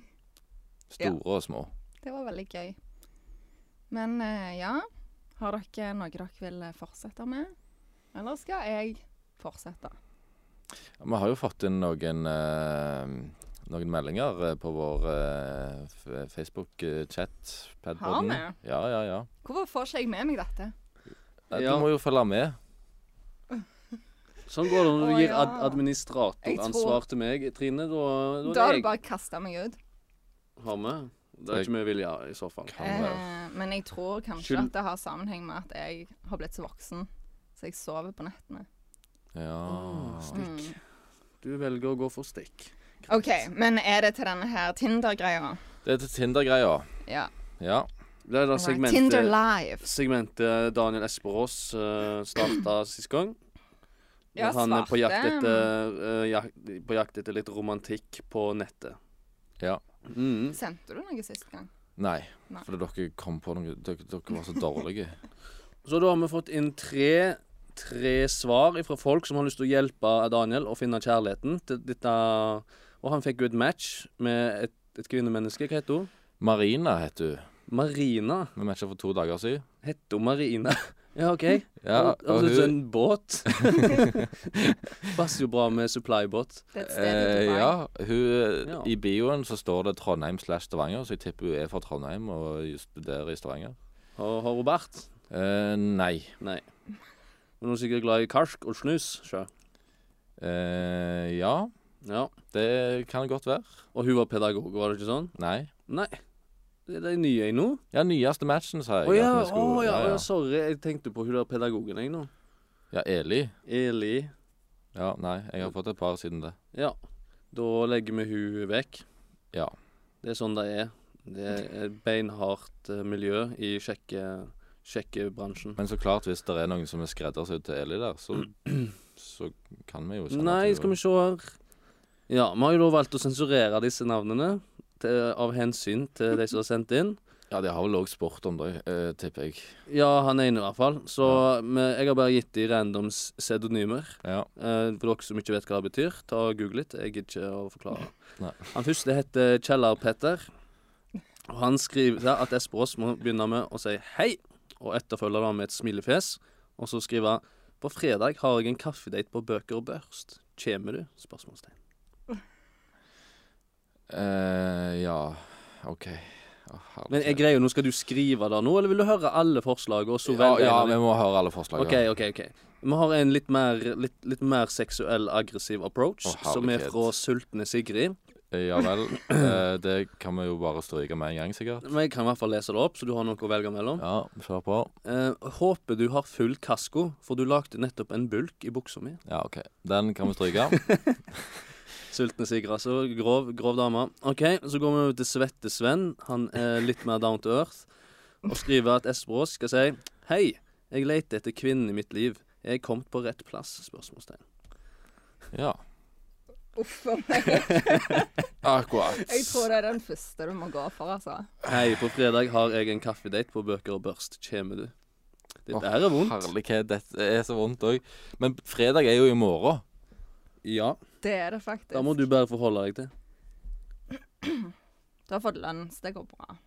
Speaker 3: Store og små.
Speaker 1: Det var veldig gøy. Men eh, ja, har dere noe dere vil eh, fortsette med? Eller skal jeg fortsette?
Speaker 3: Vi har jo fått inn noen, eh, noen meldinger eh, på vår eh, f- Facebook-chat.
Speaker 1: Har vi?
Speaker 3: Ja, ja, ja.
Speaker 1: Hvorfor får ikke jeg med meg dette?
Speaker 3: Eh,
Speaker 2: Ja.
Speaker 3: Du må jo følge med.
Speaker 2: Sånn går det når du
Speaker 1: Å,
Speaker 2: gir
Speaker 1: ja.
Speaker 2: ad administratoransvar til meg, Trine. Da, da,
Speaker 1: Da
Speaker 2: er
Speaker 1: har
Speaker 2: det
Speaker 1: du bare kasta meg ut.
Speaker 2: jeg har med. Det er ikke mye vilje i så fall.
Speaker 3: Kan være.
Speaker 1: Eh, men jeg tror kanskje
Speaker 2: Skyld-
Speaker 1: at det har sammenheng med at jeg har blitt så voksen, så jeg sover på nettene.
Speaker 3: Ja.
Speaker 2: Stikk.
Speaker 1: Mm.
Speaker 2: Du velger å gå for stikk.
Speaker 1: OK, men er det til denne her Tinder-greia?
Speaker 3: Det er til Tinder-greia.
Speaker 1: Ja.
Speaker 3: Ja.
Speaker 2: Det er da
Speaker 1: Alright. Tinder
Speaker 2: segmentet,
Speaker 1: Live.
Speaker 2: segmentet Daniel Esperås uh, starta sist gang.
Speaker 1: Ja,
Speaker 2: Når han er på jakt,
Speaker 1: svarte.
Speaker 2: etter, eh, jak på jakt etter litt romantikk på nettet.
Speaker 3: Ja.
Speaker 2: Mm.
Speaker 1: Sendte du noe sist gang?
Speaker 3: Nei.
Speaker 1: Nei.
Speaker 3: Fordi dere kom på noe Dere, dere var så dårlige.
Speaker 2: Så da har vi fått inn tre, tre svar fra folk som har lyst til å hjelpe Daniel å finne kjærligheten til dette. Og han fikk jo et match med et, et kvinnemenneske. Hva heter hun?
Speaker 3: Marina heter hun.
Speaker 2: Marina.
Speaker 3: Vi matcha for to dager siden.
Speaker 2: Heter hun Marina? Ja, OK.
Speaker 3: Ja,
Speaker 2: og, og,
Speaker 3: og hun-
Speaker 2: En båt. Passer jo bra med supplybåt.
Speaker 1: Det er et sted i
Speaker 3: Eh,
Speaker 1: Dubai.
Speaker 3: ja, hun,
Speaker 2: Ja.
Speaker 3: I bioen så står det Trondheim slash Stavanger, så jeg tipper hun er fra Trondheim og studerer i Stavanger.
Speaker 2: Har har hun bart?
Speaker 3: Eh, nei.
Speaker 2: Nei. Men hun er sikkert glad i karsk og snus. Sjø.
Speaker 3: Eh, ja,
Speaker 2: Ja.
Speaker 3: det kan godt være.
Speaker 2: Og hun var pedagog, var det ikke sånn?
Speaker 3: Nei.
Speaker 2: Nei. Det er de nye jeg nå.
Speaker 3: Ja, nyeste matchen, sa
Speaker 2: Å
Speaker 3: jeg.
Speaker 2: ja,
Speaker 3: at vi skulle-
Speaker 2: å ja,
Speaker 3: ja,
Speaker 2: å
Speaker 3: ja.
Speaker 2: ja, sorry. Jeg tenkte på hun der pedagogen, jeg nå.
Speaker 3: Ja, Eli.
Speaker 2: Eli.
Speaker 3: Ja, nei, jeg har fått et par siden det.
Speaker 2: Ja. Da legger vi hun vekk.
Speaker 3: Ja.
Speaker 2: Det er sånn det er. Det er et beinhardt eh, miljø i sjekke, sjekkebransjen.
Speaker 3: Men så klart, hvis det er noen som er skreddersydd til Eli der, så, så kan vi jo sånn sende
Speaker 2: Nei,
Speaker 3: til-
Speaker 2: skal vi se her Ja, vi har jo da valgt å sensurere disse navnene til, av hensyn til de som har sendt inn.
Speaker 3: Ja, de har vel òg spurt om det, eh, tipper jeg.
Speaker 2: Ja, han ene i hvert fall. Så vi- jeg har bare gitt de randoms pseudonymer.
Speaker 3: Ja.
Speaker 2: Eh, for dere som ikke vet hva det betyr, ta og google litt. Jeg gidder ikke å forklare.
Speaker 3: Nei.
Speaker 2: Han første heter Kjeller-Petter. Og han skriver der at Esperås må begynne med å si hei, og etterfølge det med et smilefjes. Og så skrive på fredag har jeg en kaffedate på Bøker og Børst. Kjemer du? Spørsmålstegn.
Speaker 3: Eh, ja, OK. Å, herregud.
Speaker 2: Men jeg greier jo, nå skal du skrive det nå, eller vil du høre alle forslagene? Og så
Speaker 3: ja,
Speaker 2: velge
Speaker 3: ja,
Speaker 2: en av de?
Speaker 3: vi må høre alle forslagene.
Speaker 2: OK, OK. ok Vi har en litt mer, litt, litt mer seksuell aggressiv approach,
Speaker 3: Å,
Speaker 2: som er
Speaker 3: herlighet.
Speaker 2: fra Sultne Sigrid.
Speaker 3: Ja vel. eh, Det kan vi jo bare stryke med en gang, sikkert.
Speaker 2: Men jeg kan i hvert fall lese det opp, så du har noe å velge mellom.
Speaker 3: Ja, kjør på.
Speaker 2: Eh, håper du har full kasko, for du lagde nettopp en bulk i buksa mi.
Speaker 3: Ja, OK. Den kan vi stryke.
Speaker 2: Sultne Sigrid, altså. Grov, grov dame. OK, så går vi over til Svette Sven. Han er litt mer down to earth. Og skriver at Espros skal si Hei, jeg leter etter kvinnen i mitt liv. Er jeg kommet på rett plass? Spørsmålstegn.
Speaker 3: Ja,
Speaker 1: Uff a meg.
Speaker 3: akkurat.
Speaker 1: Jeg tror det er den første du må gå for, altså.
Speaker 2: Hei, på fredag har jeg en kaffedate på Bøker og børst. Kjeme du? Dette her er vondt.
Speaker 3: Herlighet, dette er så vondt òg. Men fredag er jo i morgen.
Speaker 2: Ja.
Speaker 1: Det er det faktisk.
Speaker 2: Da må du bare forholde deg til.
Speaker 1: Du har fått lønn, så det går bra.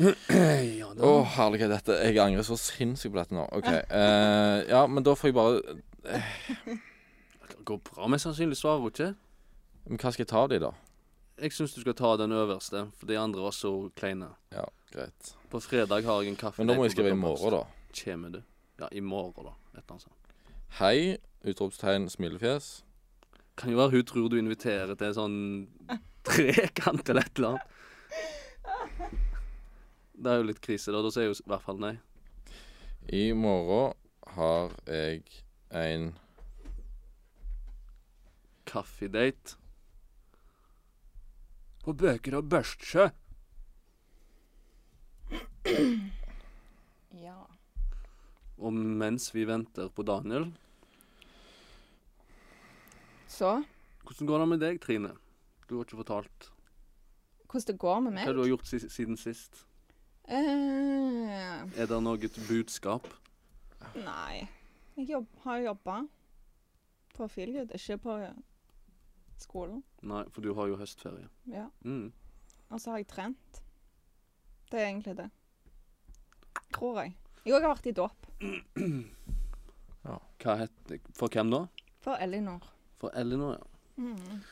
Speaker 2: Ja,
Speaker 3: Å, herlighet, dette Jeg angrer så sinnssykt på dette nå. OK. eh, ja, men da får jeg bare
Speaker 2: det går bra. Mest sannsynlig svarer hun ikke.
Speaker 3: Men hva skal jeg ta de, da?
Speaker 2: Jeg syns du skal ta den øverste, for de andre var så kleine.
Speaker 3: Ja, greit.
Speaker 2: På fredag har jeg en kaffe
Speaker 3: Men da må jeg skrive i morgen, da.
Speaker 2: Kjeme du? Ja, i morgen, da. Et eller annet sånt.
Speaker 3: Hei, utropstegn, smilefjes.
Speaker 2: Kan jo være hun tror du inviterer til en sånn trekant eller et eller annet. Det er jo litt krise, da. Da sier hun i hvert fall nei.
Speaker 3: I morgen har jeg en
Speaker 2: Kaffedate. På Bøker og Børstsjø.
Speaker 1: Ja.
Speaker 2: Og mens vi venter på Daniel
Speaker 1: Så
Speaker 2: Hvordan går det med deg, Trine? Du har ikke fortalt
Speaker 1: hvordan det går med
Speaker 2: hva du
Speaker 1: meg?
Speaker 2: har gjort si- siden sist.
Speaker 1: Eh,
Speaker 2: Er det noe budskap?
Speaker 1: nei. Jeg jobb, har jobba på Filgud, ikke på skolen.
Speaker 2: Nei, for du har jo høstferie.
Speaker 1: Ja.
Speaker 2: Mm.
Speaker 1: Og så har jeg trent. Det er egentlig det. Tror jeg. Jeg òg har vært i dåp.
Speaker 2: Hva het For hvem da?
Speaker 1: For Elinor.
Speaker 2: For Elinor, ja.
Speaker 1: Mm.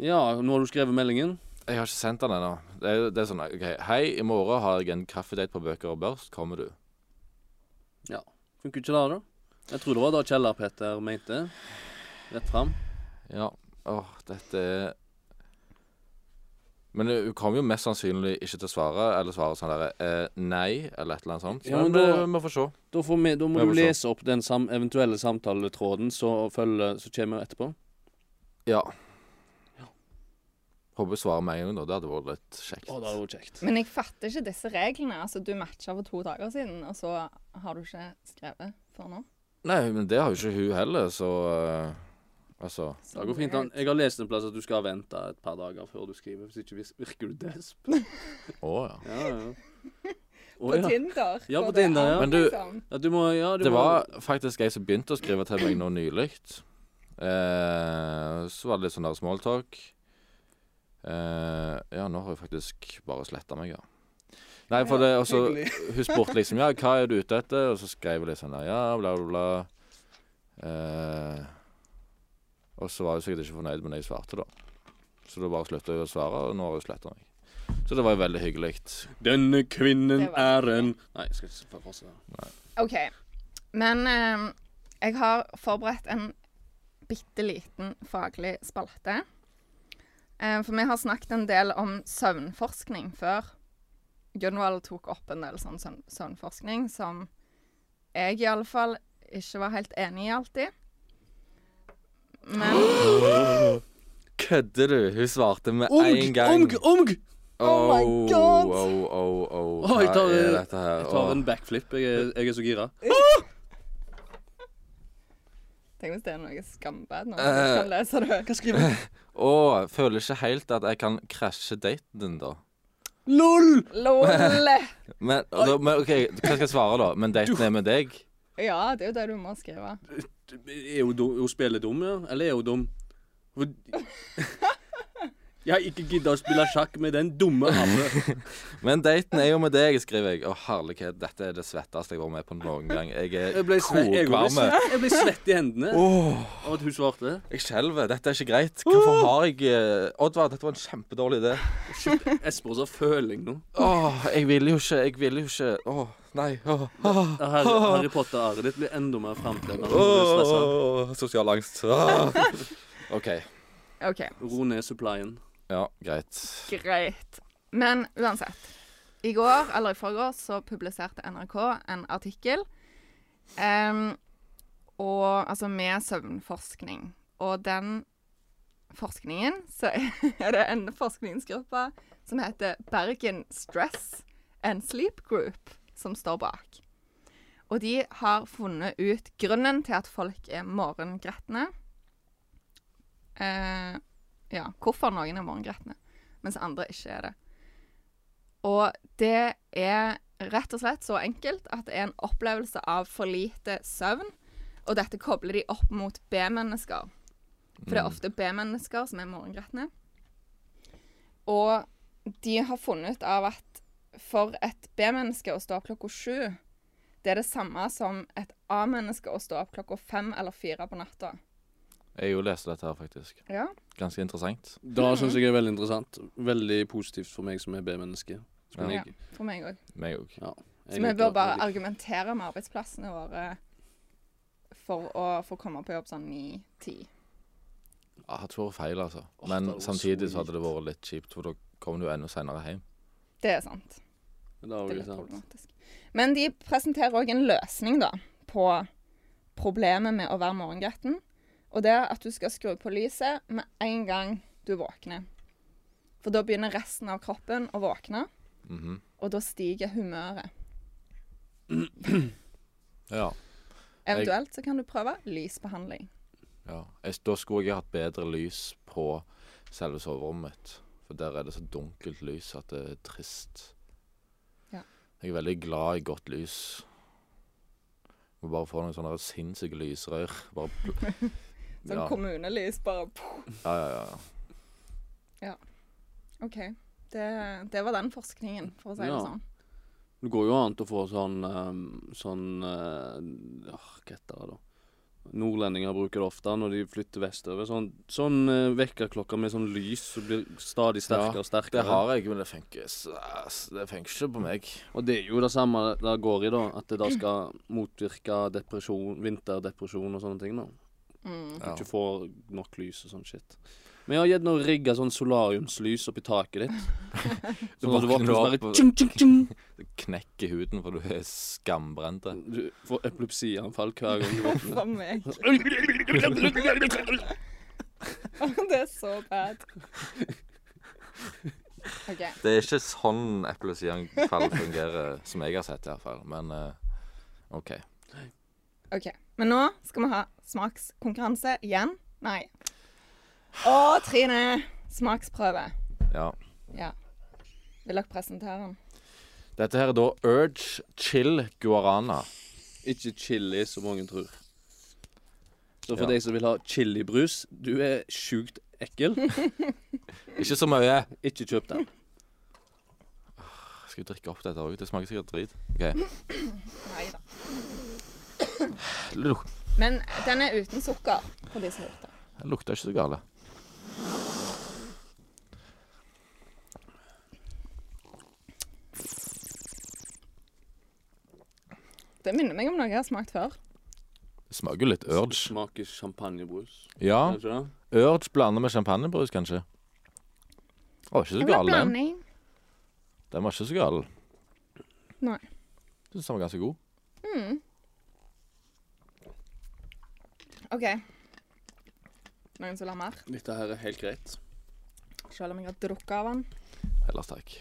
Speaker 2: Ja, nå har du skrevet meldingen.
Speaker 3: Jeg har ikke sendt den ennå. Det, er- det er sånn OK. Hei, i morgen har jeg en kaffedate på Bøker og Børst. Kommer du?
Speaker 2: Funker ikke det, da? Jeg tror det var da Kjeller-Peter mente. Rett fram.
Speaker 3: Ja. Åh, dette er Men hun kommer jo mest sannsynlig ikke til å svare, eller svare sånn derre eh, nei, eller et eller annet sånt.
Speaker 2: Ja,
Speaker 3: men
Speaker 2: men
Speaker 3: det,
Speaker 2: da-
Speaker 3: vi får se.
Speaker 2: Da, får vi, da må
Speaker 3: Ja,
Speaker 2: du
Speaker 3: for så.
Speaker 2: lese opp den sam eventuelle samtaletråden som følger, så kommer etterpå.
Speaker 3: Ja. Håper hun svarer med en gang, da. Det hadde vært litt kjekt.
Speaker 2: Å, det hadde vært kjekt.
Speaker 1: Men jeg fatter ikke disse reglene. Altså, du matcha for to dager siden, og så har du ikke skrevet før nå.
Speaker 3: Nei, men det har jo ikke hun heller, så eh, Altså
Speaker 1: Så
Speaker 2: Det går fint.
Speaker 1: weird.
Speaker 2: Dan. Jeg har lest en plass at du skal vente et par dager før du skriver. Hvis ikke vis- virker du desp.
Speaker 3: Å ja.
Speaker 2: Ja, ja. Å,
Speaker 1: På
Speaker 2: ja.
Speaker 1: Tinder.
Speaker 2: Ja,
Speaker 1: går
Speaker 2: på
Speaker 1: det
Speaker 2: Tinder,
Speaker 1: an,
Speaker 2: ja.
Speaker 3: Men du-
Speaker 1: liksom.
Speaker 2: ja, du må Ja, du
Speaker 3: Det
Speaker 2: må
Speaker 3: var faktisk ei som begynte å skrive til meg nå nylig. Eh, så var det litt sånn der smalltalk. Eh, ja, nå har hun faktisk bare sletta meg, ja. Nei, for det, og så Hun spurte liksom ja, hva er du ute etter, og så skrev hun litt sånn ja, bla, bla, bla. Eh, og så var hun sikkert ikke fornøyd med det jeg svarte, da. Så da bare slutta hun å svare, og nå har hun sletta meg. Så det var jo veldig hyggelig.
Speaker 2: Denne kvinnen
Speaker 1: Det var-
Speaker 2: er en Nei, jeg skal ikke fortsette.
Speaker 1: OK. Men eh, jeg har forberedt en bitte liten faglig spalte. Eh, for vi har snakket en del om søvnforskning før. Gunvald tok opp en del sånn søvn søvnforskning som jeg iallfall ikke var helt enig i alltid. Men
Speaker 3: Kødder du? Hun svarte med
Speaker 2: Omg, omg, omg!
Speaker 1: Oh my God.
Speaker 3: Oh, oh, oh,
Speaker 2: Å, jeg
Speaker 3: Hva
Speaker 2: tar-
Speaker 3: er dette her?
Speaker 2: Jeg tar
Speaker 3: Åh.
Speaker 2: en backflip. Jeg er, jeg er så gira.
Speaker 1: tenk hvis det er noe skambad når man
Speaker 3: Eh,
Speaker 1: ikke kan lese det.
Speaker 2: Hva skriver du?
Speaker 3: Åh, jeg føler ikke helt at jeg kan krasje daten din, da.
Speaker 2: LOL!
Speaker 1: Lol!
Speaker 3: Men, da, men OK, hva skal jeg svare, da? Men daten er med deg?
Speaker 1: Ja, det er jo det du må skrive.
Speaker 2: Er hun, dum, hun spiller dum, ja? Eller er hun dum? Hun- Jeg har ikke gidda å spille sjakk med den dumme apen.
Speaker 3: Men daten er jo med deg, skriver jeg. Å, herlighet, dette er det svetteste jeg har vært med på noen gang. Jeg
Speaker 2: Jeg
Speaker 3: er
Speaker 2: ble, sve jeg ble,
Speaker 3: kokvarm.
Speaker 2: svett, jeg ble svett i hendene
Speaker 3: Åh,
Speaker 2: av at hun svarte.
Speaker 3: jeg skjelver. Dette er ikke greit. Hvorfor har jeg eh, Oddvar, dette var en kjempedårlig idé.
Speaker 2: Esperos har føling nå.
Speaker 3: Åh, jeg ville jo ikke. Jeg ville jo ikke. Åh, nei. Åh, åh.
Speaker 2: Det Harry, Harry Potter-arret ditt blir enda mer framtredende. når du blir stressa.
Speaker 3: Åh, sosial angst. Åh. OK.
Speaker 1: OK,
Speaker 2: Ro ned supplyen.
Speaker 3: Ja, greit.
Speaker 1: greit. Men uansett. I går, eller i forgårs, så publiserte NRK en artikkel em, og, altså med søvnforskning. Og den forskningen, så er det en forskningsgruppe som heter Bergen Stress and Sleep Group, som står bak. Og de har funnet ut grunnen til at folk er morgengretne. Eh, ja, hvorfor noen er morgengretne, mens andre ikke er det. Og det er rett og slett så enkelt at det er en opplevelse av for lite søvn. Og dette kobler de opp mot B-mennesker. For det er ofte B-mennesker som er morgengretne. Og de har funnet ut av at for et B-menneske å stå opp klokka sju, det er det samme som et A-menneske å stå opp klokka fem eller fire på natta.
Speaker 3: Jeg jo leste dette her, faktisk.
Speaker 1: Ja.
Speaker 3: Ganske interessant.
Speaker 2: Det syns jeg er veldig interessant. Veldig positivt for meg som er B-menneske. Så kan
Speaker 1: Ja.
Speaker 2: jeg-
Speaker 1: For meg òg.
Speaker 3: Meg òg.
Speaker 2: jeg
Speaker 1: Så vi
Speaker 2: liker-
Speaker 1: bør bare
Speaker 2: jeg liker-
Speaker 1: argumentere med arbeidsplassene våre for å få komme på jobb sånn ni-ti.
Speaker 3: Ja, hadde vært feil, altså.
Speaker 2: Åh,
Speaker 3: Men
Speaker 2: det hadde vært
Speaker 3: samtidig
Speaker 2: så
Speaker 3: så hadde det vært litt kjipt, for da kommer du enda senere hjem.
Speaker 1: Det er sant.
Speaker 2: Det
Speaker 1: Det
Speaker 2: er jo
Speaker 1: er
Speaker 2: ikke
Speaker 1: litt
Speaker 2: sant.
Speaker 1: problematisk. Men de presenterer òg en løsning da, på problemet med å være morgengretten. Og det er at du skal skru på lyset med en gang du våkner. For da begynner resten av kroppen å våkne,
Speaker 3: Mhm.
Speaker 1: og da stiger humøret.
Speaker 3: Ja.
Speaker 1: Eventuelt så kan du prøve lysbehandling.
Speaker 3: ja. Jeg, da skulle jeg hatt bedre lys på selve soverommet mitt. For der er det så dunkelt lys at det er trist.
Speaker 1: Ja.
Speaker 3: Jeg er veldig glad i godt lys. Må bare få noen sånne sinnssyke lysrør. Bare pl-
Speaker 1: Sånn
Speaker 3: ja.
Speaker 1: kommunelys, bare
Speaker 3: ja, ja, ja.
Speaker 1: OK. Det, det var den forskningen, for å si det
Speaker 2: Ja.
Speaker 1: sånn.
Speaker 2: Det går jo an til å få sånn ehm, Sånn eh, åh, Hva heter det, da? Nordlendinger bruker det ofte når de flytter vestover. Sånn, sånn eh, vekkerklokker med sånn lys som blir stadig sterkere
Speaker 3: Ja,
Speaker 2: og sterkere.
Speaker 3: Det har jeg, men det funker, s- det funker ikke på meg.
Speaker 2: Og det er jo det samme det går i, da. At det da skal motvirke depresjon, vinterdepresjon og sånne ting. da.
Speaker 1: Mm.
Speaker 3: Ja.
Speaker 2: Ikke får nok lys og sånn shit. Men jeg har gjerne rigga sånn solariumslys oppi taket ditt.
Speaker 3: Så
Speaker 2: Så når du
Speaker 3: våkner
Speaker 2: våkner,
Speaker 3: du
Speaker 2: så
Speaker 3: opp
Speaker 2: bare
Speaker 3: og-
Speaker 2: tjung, tjung, tjung.
Speaker 3: Knekker huden, for du er skambrent.
Speaker 2: Du får epilepsianfall hver gang du våkner.
Speaker 1: For meg. Det er så bad. OK.
Speaker 3: Det er ikke sånn epilepsianfall fungerer, som jeg har sett i hvert fall. Men eh, OK.
Speaker 1: Ok, men nå skal vi ha smakskonkurranse igjen. Nei. Å, Trine! Smaksprøve.
Speaker 3: Ja.
Speaker 1: Ja. Vil dere presentere den?
Speaker 3: Dette her er da Urge Chill Guarana.
Speaker 2: Ikke chili, som mange tror. Så for
Speaker 3: Ja.
Speaker 2: deg som vil ha chilibrus, du er sjukt ekkel.
Speaker 3: Ikke så mye.
Speaker 2: Ikke kjøp den.
Speaker 3: Skal vi drikke opp dette òg? Det smaker sikkert drit. OK.
Speaker 1: Nei da.
Speaker 3: Luk
Speaker 1: Men den er uten sukker, for de som lurte.
Speaker 3: det lukter ikke så gale.
Speaker 1: Det minner meg om noe jeg har smakt før.
Speaker 3: Det smaker jo litt Urge. Ah.
Speaker 2: Smaker champagnebrus.
Speaker 3: Ja.
Speaker 2: Er det ikke det?
Speaker 3: Urge blander med champagnebrus, kanskje. Å, ikke så
Speaker 1: Det
Speaker 3: gal,
Speaker 1: var
Speaker 3: den.
Speaker 1: blanding.
Speaker 3: Den var ikke så gal.
Speaker 1: Nei.
Speaker 3: Syns den var ganske god.
Speaker 1: OK. Noen som vil ha mer?
Speaker 2: Dette her er helt greit.
Speaker 1: Selv om jeg har drukket av den.
Speaker 3: Ellers takk.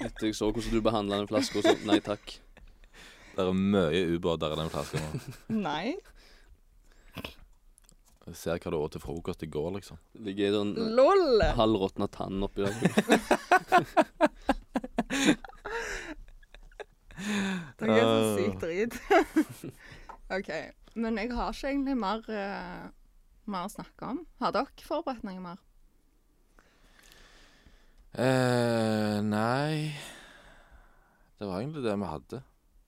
Speaker 2: Etter jeg så hvordan du behandla den flaska, så nei takk.
Speaker 3: Det er mye ubåter i den flaska nå.
Speaker 1: Nei.
Speaker 3: Jeg ser hva du åt til frokost i går, liksom.
Speaker 2: Det Ligger en
Speaker 1: LOL!
Speaker 2: halvråtna tann oppi der.
Speaker 1: Det er så
Speaker 3: Ah.
Speaker 1: sykt drit. OK. Men jeg har ikke egentlig mer, eh, mer å snakke om. Har dere forberedt noe mer?
Speaker 3: Eh, nei Det var egentlig det vi hadde.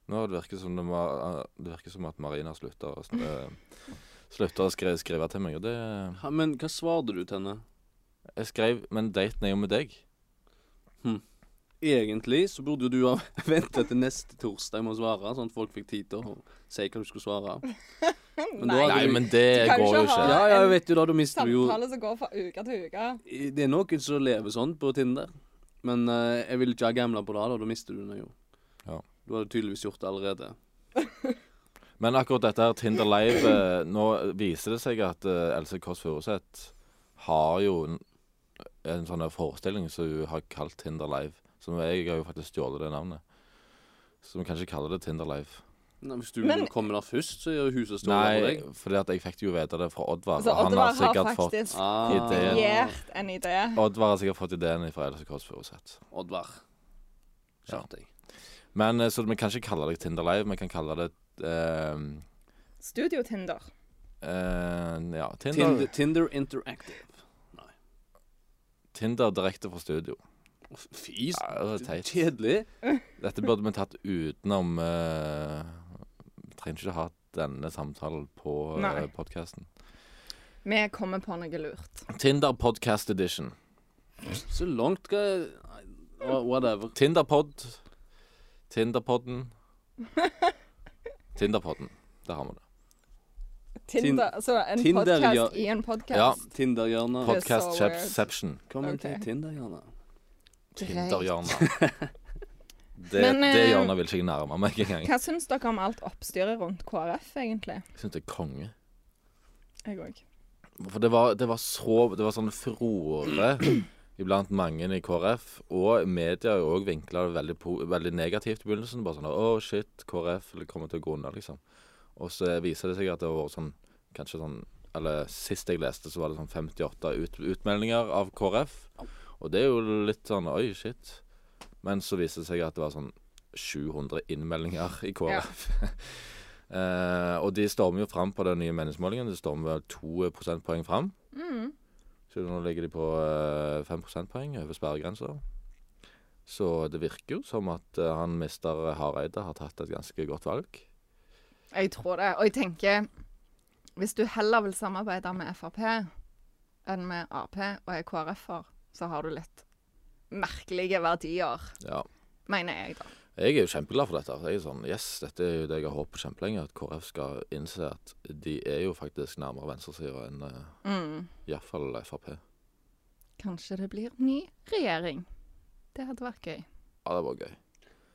Speaker 3: Nå virker det som, det ma- det virker som at Marina slutter å, sn- eh, slutter å skrive, skrive til meg. Og det
Speaker 2: Ja, men hva svarte du til henne?
Speaker 3: Jeg skrev 'Men daten er jo med deg'.
Speaker 2: Hm. egentlig så burde jo du ha venta til neste torsdag med å svare, sånn at folk fikk tid til å si hva du skulle svare. Men da-
Speaker 3: Nei, men det
Speaker 1: Du kan jo
Speaker 3: går jo
Speaker 1: ikke ha-
Speaker 3: ikke.
Speaker 2: Ja, ja, jeg vet jo da, da mister du jo
Speaker 1: Samtale som går fra uke til uke.
Speaker 3: Ah,
Speaker 2: Det er noen som lever sånn på Tinder, men eh, jeg vil ikke ha gambla på det, da. Da mister du den jo.
Speaker 3: Ja.
Speaker 2: Du hadde tydeligvis gjort det allerede.
Speaker 3: Men akkurat dette her Tinder Live eh, Nå viser det seg at eh, Else Kåss Furuseth har jo en, en sånn her forestilling som hun har kalt Tinder Live. Som jeg har jo faktisk stjålet det navnet. Så vi kan ikke kalle det Tinder Live.
Speaker 2: Nei, hvis du
Speaker 1: Men-
Speaker 2: kommer der først, så gjør huset stort for
Speaker 3: Nei,
Speaker 2: deg.
Speaker 3: fordi at jeg fikk jo vite det fra Oddvar.
Speaker 1: Så
Speaker 3: og han
Speaker 1: Altså, Oddvar
Speaker 3: har
Speaker 1: har
Speaker 3: sikkert fått
Speaker 1: faktisk
Speaker 2: Ah,
Speaker 3: ideen.
Speaker 1: kopiert en idé.
Speaker 3: Oddvar har sikkert fått ideen fra Else Kåss Furuseth.
Speaker 2: Oddvar.
Speaker 3: Ja.
Speaker 2: Skjerp deg.
Speaker 3: Men eh, så vi kan ikke kalle det Tinder Live, vi kan kalle det eh,
Speaker 1: Studio Tinder.
Speaker 3: eh, Ja, Tinder,
Speaker 2: Tinder, Tinder Interactive.
Speaker 3: Tinder direkte fra studio.
Speaker 2: Å, Fy s-
Speaker 3: Ja, det er teit.
Speaker 2: Kjedelig.
Speaker 3: Dette burde vi tatt utenom eh, Vi Trenger ikke ha denne samtalen på uh,
Speaker 1: Nei.
Speaker 3: podkasten.
Speaker 1: Vi kommer på noe lurt.
Speaker 3: Tinder podcast edition.
Speaker 2: Så langt skal jeg Nei, wha- Whatever.
Speaker 3: Tinderpod. Tinderpodden. Tinderpodden. Der har vi det.
Speaker 1: Tinder, så en
Speaker 2: Tinder gjør-
Speaker 1: podkast i en podkast.
Speaker 2: Tinderhjørnet.
Speaker 1: Pod- so
Speaker 3: Podcast
Speaker 1: weird.
Speaker 3: Chapception.
Speaker 2: Velkommen
Speaker 1: ok.
Speaker 2: til Tinderhjørnet.
Speaker 3: Tinderhjørnet. Det,
Speaker 1: Men, eh,
Speaker 3: det hjørnet vil ikke jeg nærme meg engang.
Speaker 1: Hva syns dere om alt oppstyret rundt KrF, egentlig?
Speaker 3: Jeg syns det er konge.
Speaker 1: Jeg òg.
Speaker 3: For det var, det var så Det var sånn furore iblant mange i KrF. Og media har jo òg vinkla det veldig, po- veldig negativt i begynnelsen. Bare sånn 'Å, shit, KrF kommer til å gå unna', liksom. Og så viser det seg at det har vært sånn Kanskje sånn Eller sist jeg leste, så var det sånn 58 ut, utmeldinger av KrF. Og det er jo litt sånn 'oi, shit'. Men så viste det seg at det var sånn 700 innmeldinger i KrF. Eh, og de stormer jo fram på den nye meningsmålingen. De stormer vel to eh, prosentpoeng fram.
Speaker 1: Mm.
Speaker 3: Så nå ligger de på eh, fem prosentpoeng over sperregrensa. Så det virker jo som at eh, han mister Hareide har tatt et ganske godt valg.
Speaker 1: Jeg tror det. Og jeg tenker Hvis du heller vil samarbeide med Frp enn med Ap og er KrF-er, så har du litt merkelige verdier,
Speaker 3: Ja.
Speaker 1: mener jeg, da.
Speaker 3: Jeg er jo kjempeglad for dette. Jeg er sånn, yes, Dette er jo det jeg har håpet kjempelenge. At KrF skal innse at de er jo faktisk nærmere venstresida enn uh,
Speaker 1: Mm.
Speaker 3: iallfall Frp.
Speaker 1: Kanskje det blir ny regjering. Det hadde vært gøy.
Speaker 3: Ja, det var gøy.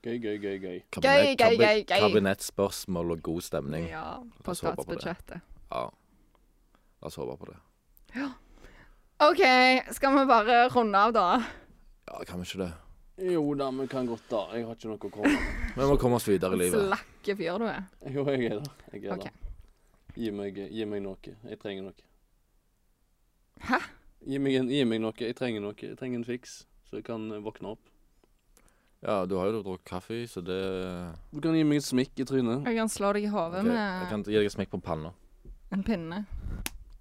Speaker 2: Gøy, gøy, gøy, gøy.
Speaker 1: Gøy, gøy, gøy, gøy.
Speaker 3: Kabinettspørsmål og god stemning.
Speaker 1: Ja,
Speaker 3: La
Speaker 1: på
Speaker 3: oss håpe på det.
Speaker 1: statsbudsjettet.
Speaker 3: Ja. La oss håpe på det.
Speaker 1: OK, skal vi bare runde av, da?
Speaker 3: Ja, kan vi ikke det?
Speaker 2: Jo da, vi kan godt da. Jeg har ikke noe å komme med.
Speaker 3: Vi må komme oss videre i livet.
Speaker 1: Slakke fyr du er.
Speaker 2: Jo, jeg er der. Jeg er
Speaker 1: Ok.
Speaker 2: der. Gi meg, gi meg noe. Jeg trenger noe.
Speaker 1: Hæ?
Speaker 2: Gi meg, en, gi meg noe. Jeg trenger noe. Jeg trenger en fiks, så jeg kan eh, våkne opp.
Speaker 3: Ja, du har jo drukket kaffe, så det
Speaker 2: Du kan gi meg et smikk i trynet.
Speaker 1: Jeg kan slå deg i hodet
Speaker 3: Ok, Jeg
Speaker 1: med
Speaker 3: kan gi deg et smekk på panna.
Speaker 1: en pinne.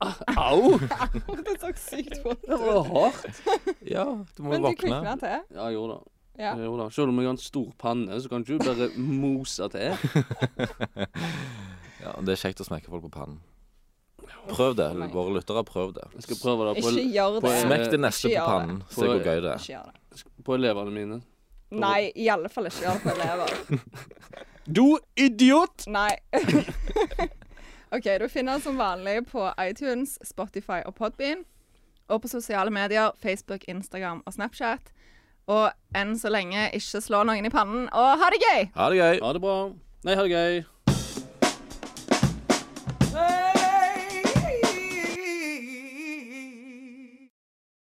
Speaker 2: Au!
Speaker 1: det så sykt vondt
Speaker 2: Det var hardt.
Speaker 3: Ja, du må våkne. Eh,
Speaker 1: til.
Speaker 2: Ja, jo da.
Speaker 1: Ja.
Speaker 2: Jo da. Selv om jeg har en stor panne, så kan ikke du bare mose til.
Speaker 3: Ja, det er kjekt å smekke folk på pannen. Prøv det.
Speaker 1: Nei.
Speaker 3: Våre lyttere, prøv det.
Speaker 2: Jeg skal prøve det på,
Speaker 1: Ikke gjør
Speaker 2: på-
Speaker 1: det.
Speaker 3: Smekk det
Speaker 1: Ikke
Speaker 3: neste på
Speaker 1: gjør
Speaker 3: pannen.
Speaker 2: det.
Speaker 3: Se hvor gøy det er.
Speaker 1: Ikke gjør det.
Speaker 2: på elevene mine.
Speaker 1: Nei, i alle fall ikke gjør det på elever.
Speaker 2: Du idiot!
Speaker 1: Nei. OK, du finner oss som vanlig på iTunes, Spotify og Podbean. Og på sosiale medier, Facebook, Instagram og Snapchat. Og enn så lenge, ikke slå noen i pannen, og ha det gøy!
Speaker 3: Ha det gøy.
Speaker 2: Ha det bra. Nei, ha det gøy.